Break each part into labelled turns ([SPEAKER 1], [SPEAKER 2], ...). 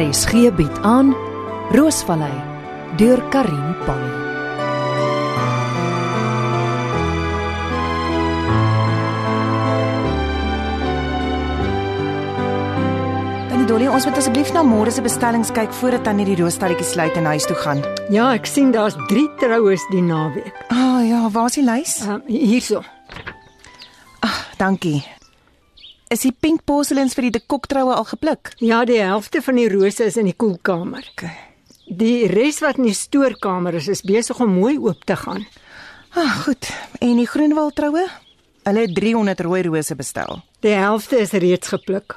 [SPEAKER 1] RSG bied aan Roosvallei deur Karin Polly.
[SPEAKER 2] Tannie Dolly, ons moet asseblief na môre se bestellings kyk voordat tannie die roostalletjie sluit en huis toe gaan.
[SPEAKER 3] Ja, ek sien daar's 3 troues die naweek.
[SPEAKER 2] Ah oh, ja, waar's die lys?
[SPEAKER 3] Ehm um, hierso.
[SPEAKER 2] Ah, Dankie. Is die pink porcelains vir die dekoktroue al gepluk?
[SPEAKER 3] Ja, die helfte van die rose is in die koelkamer.
[SPEAKER 2] Okay.
[SPEAKER 3] Die res wat in die stoorkamer is, is besig om mooi oop te gaan.
[SPEAKER 2] Ah, goed. En die Groenewald troue? Hulle het 300 rooi rose bestel.
[SPEAKER 3] Die helfte is reeds gepluk.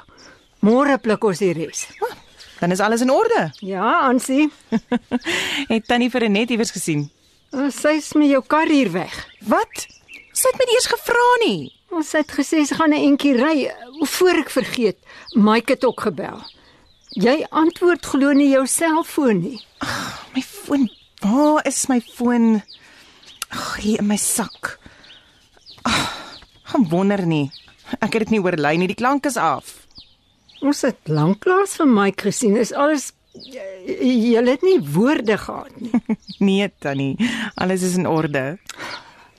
[SPEAKER 3] Môre pluk ons die res.
[SPEAKER 2] Ah, dan is alles in orde.
[SPEAKER 3] Ja, Ansie,
[SPEAKER 2] het tannie vir Renet iewers gesien?
[SPEAKER 3] uh, sy's met jou kar hier weg.
[SPEAKER 2] Wat? Sy het my nie eers gevra nie.
[SPEAKER 3] Ons het gesê sy gaan 'n entjie ry, uh, voor ek vergeet. Mike het ook gebel. Jy antwoord glo nie jou selfoon nie.
[SPEAKER 2] My foon. Waar is my foon? Ag, hier in my sak. Ag, gaan wonder nie. Ek het dit nie oorlei nie. Die klank is af.
[SPEAKER 3] Ons het lanklaas vir Mike gesien. Is alles jy jy het nie woorde gehad nie.
[SPEAKER 2] Nee, tannie. Alles is in orde.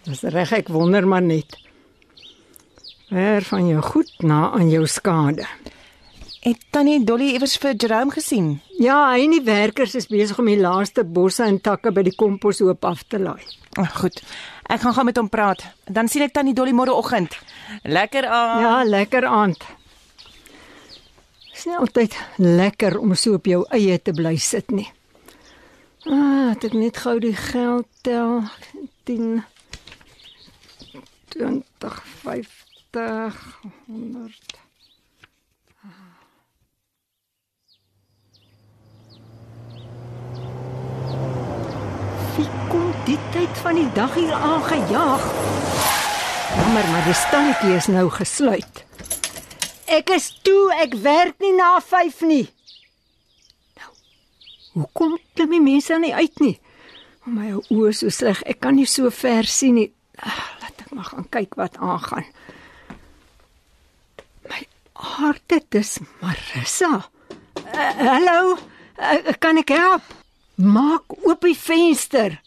[SPEAKER 3] Dis reg, ek wonder maar net. Ver van jou goed na aan jou skade.
[SPEAKER 2] Het tannie Dolly iewers vir Jerome gesien?
[SPEAKER 3] Ja, hy en die werkers is besig om die laaste bosse en takke by die komposhoop af te laai.
[SPEAKER 2] Ag, goed. Ek gaan gaan met hom praat. Dan sien ek tannie Dolly môreoggend. Lekker aan.
[SPEAKER 3] Ja, lekker aand. Dis nie altyd lekker om so op jou eie te bly sit nie. Ah, het ek net gou die geld tel 10 20 50 100 Wie kom die tyd van die dag hier aangejaag? Jammer, maar die stalletjie is nou gesluit. Ek is toe, ek werk nie na 5 nie. Nou. Hoekom klim die mense dan nie uit nie? Oh, my oë is so sleg, ek kan nie so ver sien nie. Ah, laat ek maar gaan kyk wat aangaan. My aarde, dis Marissa. Eh, Hallo, uh, uh, kan ek help? Maak oop die venster.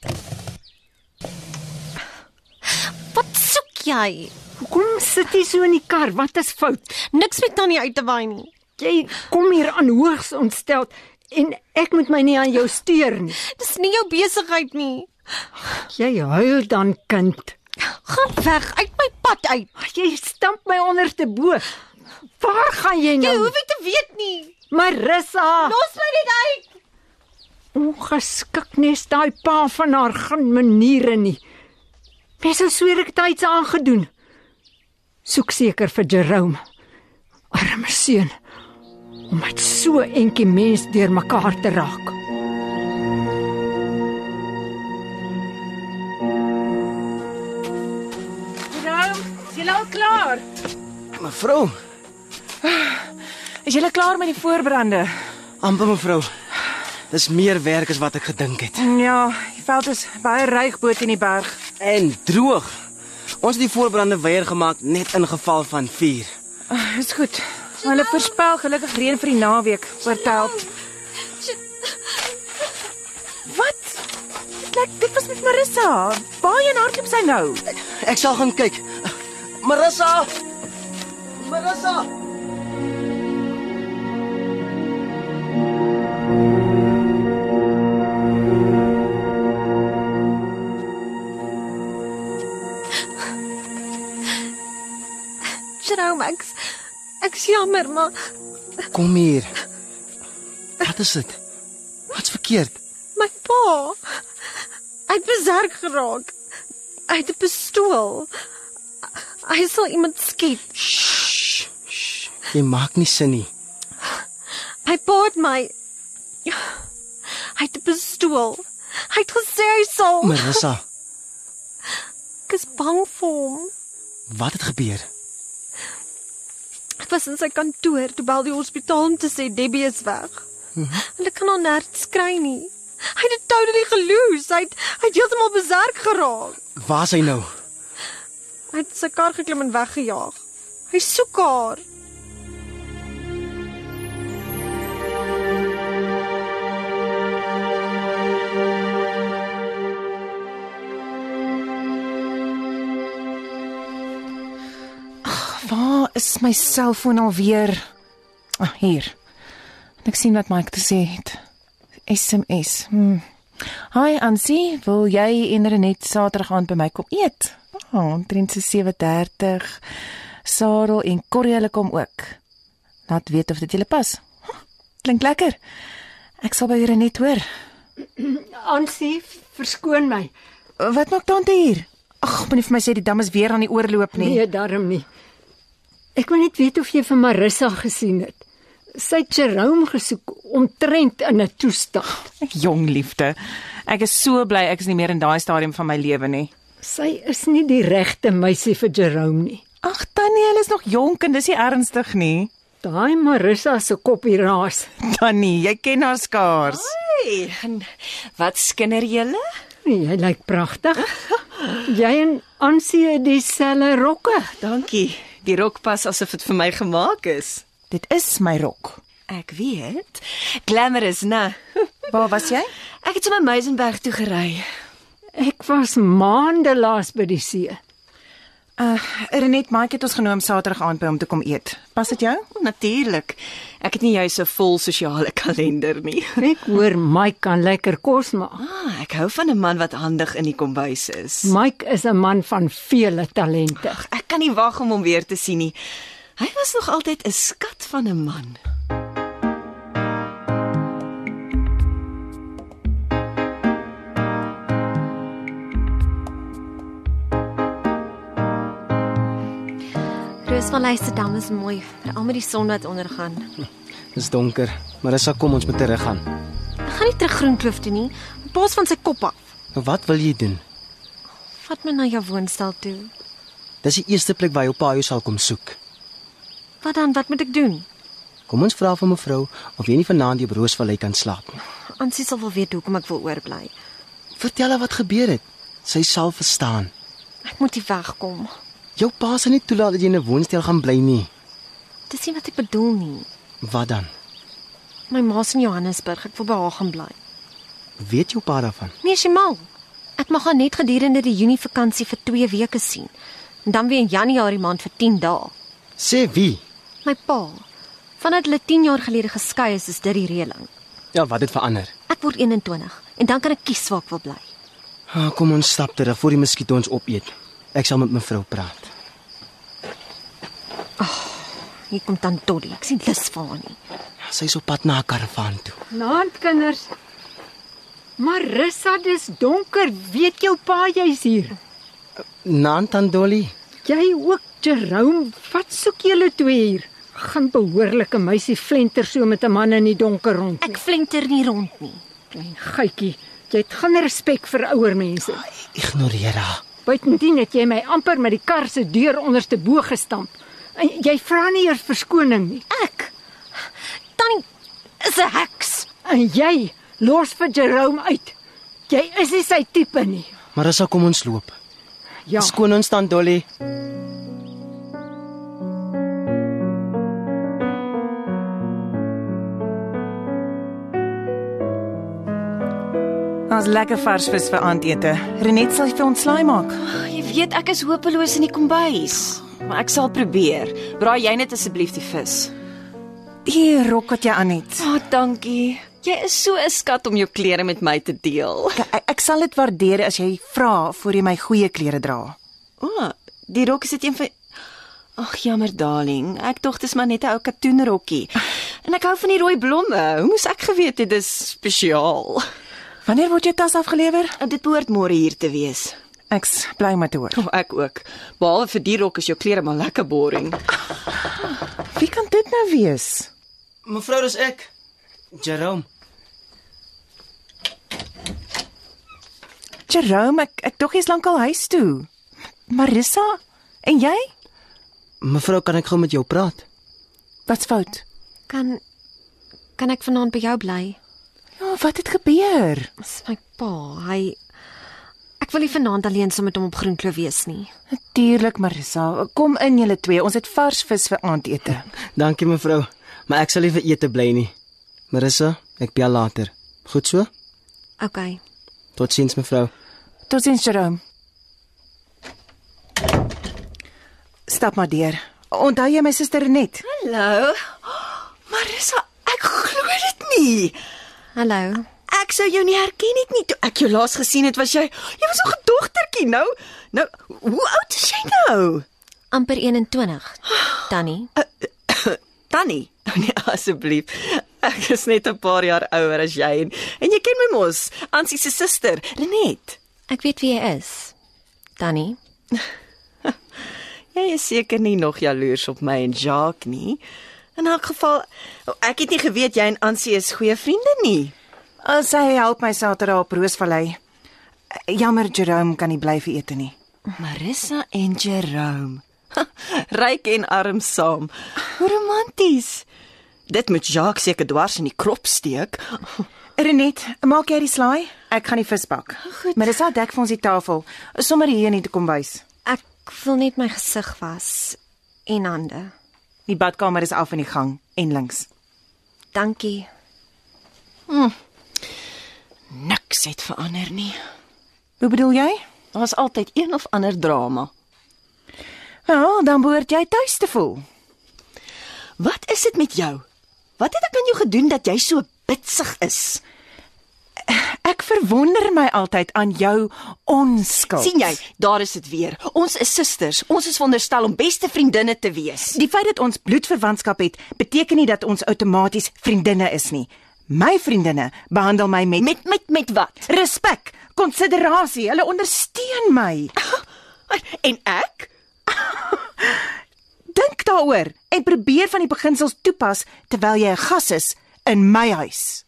[SPEAKER 4] Wat soek jy?
[SPEAKER 3] Hoekom sit jy so in die kar? Wat is fout?
[SPEAKER 4] Niks met tannie uit te wy nie.
[SPEAKER 3] Jy kom hier aan hoogs ontstel en ek moet my nie aan jou steur nie.
[SPEAKER 4] Dis nie jou besigheid nie.
[SPEAKER 3] Jy huil dan kind.
[SPEAKER 4] Gaan weg uit my pad uit.
[SPEAKER 3] Ag, Jy stamp my onderste bo. Waar gaan jy
[SPEAKER 4] Jy
[SPEAKER 3] nou?
[SPEAKER 4] hoef nie te weet nie.
[SPEAKER 3] Marissa,
[SPEAKER 4] Los my net uit.
[SPEAKER 3] ongeskik nes daai pa van haar geen maniere nie. Mens sou sweer ek het haar iets aangedoen. Soek seker vir Jerome. Arme seun. Om met so 'n entjie mens deurmekaar te raak.
[SPEAKER 5] Mevrou,
[SPEAKER 2] Is jy klaar met die voorbrande?
[SPEAKER 5] amper mevrou. Dis meer werk as wat ek gedink het.
[SPEAKER 2] Ja, die veld is baie ryg bo teen die berg.
[SPEAKER 5] En droog. Ons het die voorbrande weer gemaak net in geval van vuur.
[SPEAKER 2] Dis goed. Maar hulle voorspel gelukkig reën vir die naweek, vertel. Wat? Dit lyk dit was met Marissa. Baie en hardloop sy nou.
[SPEAKER 5] Ek sal gaan kyk. Marissa! Marissa!
[SPEAKER 4] Jerome, ek ek's jammer, maar
[SPEAKER 5] Kom hier. Wat is dit? Wat's verkeerd?
[SPEAKER 4] my pa hy het beserk geraak. Hy het 'n pistool. Hy sal iemand skiet.
[SPEAKER 5] Shh, shh. Jy maak nie sin nie.
[SPEAKER 4] Hy paat my. Hy het 'n pistool. Hy het gesê hy sal.
[SPEAKER 5] Marissa,
[SPEAKER 4] Ek is bang vir hom.
[SPEAKER 5] wat het gebeur?
[SPEAKER 4] Ek was in sy kantoor toe bel die hospitaal om te sê Debbie is weg. Hulle kan haar nerds kry nie. Hy het dit totally geloos. Hy het hy het heeltemal beserk geraak.
[SPEAKER 5] Waar is hy nou?
[SPEAKER 4] Hy het in sy kar geklim en weggejaag. Hy soek haar.
[SPEAKER 2] Waar is my selfoon alweer? Ah, hier. Ek sien wat Mike te sê het. SMS. Hmm. Hi Ansie, wil jy en Renet Saterdag aand by my kom eet? Ah, oh, omtrent so 7:30. Sarel en Corrie hulle kom ook. Laat weet of dit julle pas. Huh, Klink lekker. Ek sal by Renet hoor.
[SPEAKER 3] Ansie, verskoon my.
[SPEAKER 2] Wat maak tante hier? Ag, moenie vir my sê die dam is weer aan die oorloop nie.
[SPEAKER 3] Nee, darm nie. Ek wil net weet of jy vir Marissa gesien het. Sy het Jerome gesoek omtrent in 'n toestand.
[SPEAKER 2] Ek jong liefde. Ek is so bly ek is nie meer in daai stadium van my lewe nie.
[SPEAKER 3] Sy is nie die regte meisie vir Jerome nie.
[SPEAKER 2] Ag Tannie, hulle is nog jonk en dis nie ernstig nie.
[SPEAKER 3] Daai Marissa se koppie raas.
[SPEAKER 2] Tannie, jy ken haar skaars.
[SPEAKER 6] Hey, en wat skinder julle?
[SPEAKER 3] Nee, Jy lyk pragtig. Jy en Ansie het dieselfde rokke.
[SPEAKER 6] Dankie. Die rok pas asof dit vir my gemaak is.
[SPEAKER 2] Dit is my rok.
[SPEAKER 6] Ek weet. Glamorous, né?
[SPEAKER 2] Waar was jy?
[SPEAKER 6] Ek het sommer Meisenberg toe gery.
[SPEAKER 3] Ek was maande laas by die see.
[SPEAKER 2] Uh, Renet Mike het ons genoem Saterdag aand by hom te kom eet. Pas dit jou?
[SPEAKER 6] Natuurlik. Ek het nie jou so vol sosiale kalender nie.
[SPEAKER 3] Ek hoor Mike kan lekker kos maak.
[SPEAKER 6] Ah, ek hou van 'n man wat handig in die kombuis is.
[SPEAKER 3] Mike is 'n man van vele talente.
[SPEAKER 6] Ag, ek kan nie wag om hom weer te sien nie. Hy was nog altyd 'n skat van 'n man.
[SPEAKER 4] Roosvallei se dam is mooi, veral met die son wat ondergaan.
[SPEAKER 5] Dis donker. Marissa, kom ons moet teruggaan.
[SPEAKER 4] Ek gaan nie terug Groenkloof toe nie. Bos van sy kop af.
[SPEAKER 5] Nou wat wil jy doen?
[SPEAKER 4] Vat my na jou woonstel toe.
[SPEAKER 5] Dis die eerste plek waar jou pa jou sal kom soek.
[SPEAKER 4] Wat dan? Wat moet ek doen?
[SPEAKER 5] Kom ons vra vir mevrou of jy nie vanaand hier op Roosvallei kan slaap nie.
[SPEAKER 4] Ansie sal wel weet hoekom ek wil oorbly.
[SPEAKER 5] Vertel haar wat gebeur het. Sy sal verstaan.
[SPEAKER 4] Ek moet hier wegkom.
[SPEAKER 5] Jou pa sal nie toelaat dat jy in 'n woonstel gaan bly nie.
[SPEAKER 4] Dis nie wat ek bedoel nie.
[SPEAKER 5] Wat dan?
[SPEAKER 4] My ma's in Johannesburg. Ek wil by haar gaan bly.
[SPEAKER 5] Weet jou pa daarvan?
[SPEAKER 4] Nee, sy mal. Ek mag haar net gedurende die Junie vakansie vir 2 weke sien. En dan weer in Januarie maand vir 10 dae.
[SPEAKER 5] Sê wie?
[SPEAKER 4] My pa. Vandat hulle 10 jaar gelede geskei is, is dit die reëling.
[SPEAKER 5] Ja, wat het verander?
[SPEAKER 4] Ek word 21 en dan kan ek kies waar ek wil bly.
[SPEAKER 5] Ah, kom ons stap terug voor die muskiete ons opeet. Ek sal met mevrou praat.
[SPEAKER 4] Hier kom dan Doddy. Ek sien lus vir haar nie.
[SPEAKER 5] Sy's Ja, op pad na haar karavaan toe.
[SPEAKER 3] Naand kinders. Marissa, dis donker. Weet jou pa jy's hier?
[SPEAKER 5] Nantandoli,
[SPEAKER 3] Jy ook, Jerome. Wat soek julle twee hier? Gaan behoorlike meisie flenter so met 'n man in die donker rond.
[SPEAKER 4] Ek flinter nie rond nie.
[SPEAKER 3] klein gietjie. Jy het geen respek vir ouer mense.
[SPEAKER 5] ignoreer haar.
[SPEAKER 3] Buitendien het jy my amper met die kar se deur onderste bo gestamp. En jy vra nie eers verskoning nie.
[SPEAKER 4] Ek Tannie is 'n heks.
[SPEAKER 3] En jy los vir Jerome uit. Jy is nie sy tipe nie.
[SPEAKER 5] Marissa, kom ons loop.
[SPEAKER 3] Ja.
[SPEAKER 5] Skoon ons Tandoli.
[SPEAKER 2] Ons lekker vars vis vir aandete. Renet sal vir ons slaai maak.
[SPEAKER 6] Ah, Jy weet ek is hopeloos in die kombuis, maar ek sal probeer. Braai jy net asseblief die vis.
[SPEAKER 2] Die rok wat jy aan het.
[SPEAKER 6] Ah, oh, dankie. Jy is so 'n skat om jou klere met my te deel.
[SPEAKER 2] Ek, ek sal dit waardeer as jy vra voor jy my goeie klere dra.
[SPEAKER 6] O, oh, die rok is dit een van Ag jammer darling, ek dink dit is maar net 'n ou katoenrokkie. En ek hou van die rooi blomme. Hoe moes ek geweet het dis spesiaal?
[SPEAKER 2] Wanneer word jou tas afgelewer?
[SPEAKER 6] En Ah, dit behoort môre hier te wees.
[SPEAKER 2] Ek's bly om dit te hoor.
[SPEAKER 6] O, oh, ek ook. Behalwe vir die rok is jou klere maar lekker boring.
[SPEAKER 2] Wie kan dit nou wees?
[SPEAKER 5] Mevrou, dis ek. Jerome.
[SPEAKER 2] Jerome, ek ek dog jy's lankal huis toe. Marissa, en jy?
[SPEAKER 5] Mevrou, kan ek gou met jou praat?
[SPEAKER 2] Wat's fout?
[SPEAKER 4] Kan kan ek vanaand by jou bly?
[SPEAKER 2] Ja, wat het gebeur?
[SPEAKER 4] Dis my pa. Hy Ek wil nie vanaand alleen saam met hom op Groenkloof wees nie.
[SPEAKER 2] Natuurlik, Marissa. Kom in julle twee. Ons het vars vis vir aandete.
[SPEAKER 5] Dankie mevrou, maar ek sal nie vir ete bly nie. Marissa, ek bel later. Goed so?
[SPEAKER 4] OK.
[SPEAKER 5] Totsiens mevrou.
[SPEAKER 2] Totsiens, Jerome. Stap maar deur. Onthou jy my suster Renet?
[SPEAKER 6] Hallo. Marissa, ek glo dit nie.
[SPEAKER 4] Hallo.
[SPEAKER 6] Ek sou jou nie herken het nie toe ek jou laas gesien het was jy jy was nog 'n dogtertjie nou. Nou, hoe oud is jy nou?
[SPEAKER 4] Amper 21. Tannie.
[SPEAKER 6] Tannie. Oh, nee, asseblief. Ek is net 'n paar jaar ouer as jy en en jy ken my mos, Ansie se suster, Renet.
[SPEAKER 4] Ek weet wie jy is. Tannie.
[SPEAKER 6] Jy is seker nie nog jaloers op my en Jacques nie. In elk geval, oh, ek het nie geweet jy en Ansie is goeie vriende nie.
[SPEAKER 2] Al sy help my Saterdag op Roosvallei. Jammer Jerome kan nie bly vir ete nie.
[SPEAKER 6] Marissa en Jerome. Ryk en arm saam. Hoe romanties. Dit moet Jacques seker dwars in die krop steek.
[SPEAKER 2] Renet, maak jy die slaai? Ek gaan die vis bak.
[SPEAKER 6] Goed.
[SPEAKER 2] Marissa dek vir ons die tafel, sommer hier in die kombuis.
[SPEAKER 4] Ek wil net my gesig was en hande.
[SPEAKER 2] Die badkamer is af in die gang en links.
[SPEAKER 4] Dankie.
[SPEAKER 6] Niks het verander nie.
[SPEAKER 2] Hoe bedoel jy?
[SPEAKER 6] Daar's altyd een of ander drama.
[SPEAKER 2] Wel, Ja, dan behoort jy tuis te voel.
[SPEAKER 6] Wat is dit met jou? Wat het ek aan jou gedoen dat jy so bitsig is?
[SPEAKER 2] Ek verwonder my altyd aan jou onskuld.
[SPEAKER 6] sien jy, daar is dit weer. Ons is susters. Ons is veronderstel om beste vriendinne te wees.
[SPEAKER 2] Die feit dat ons bloedverwantskap het, beteken nie dat ons outomaties vriendinne is nie. My vriendinne behandel my met,
[SPEAKER 6] Met met met wat?
[SPEAKER 2] respek, konsiderasie. Hulle ondersteun my.
[SPEAKER 6] En ek?
[SPEAKER 2] Dink daaroor en probeer van die beginsels toepas terwyl jy 'n gas is in my huis.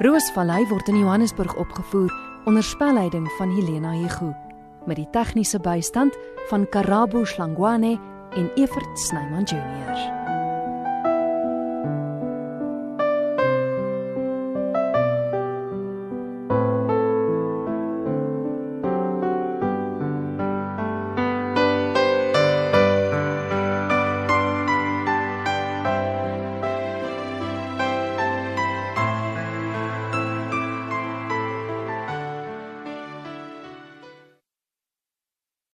[SPEAKER 1] Roosvallei word in Johannesburg opgevoer onder spelleiding van Helena Hugo met die tegniese bystand van Karabo Slangwane en Evert Snyman Junior.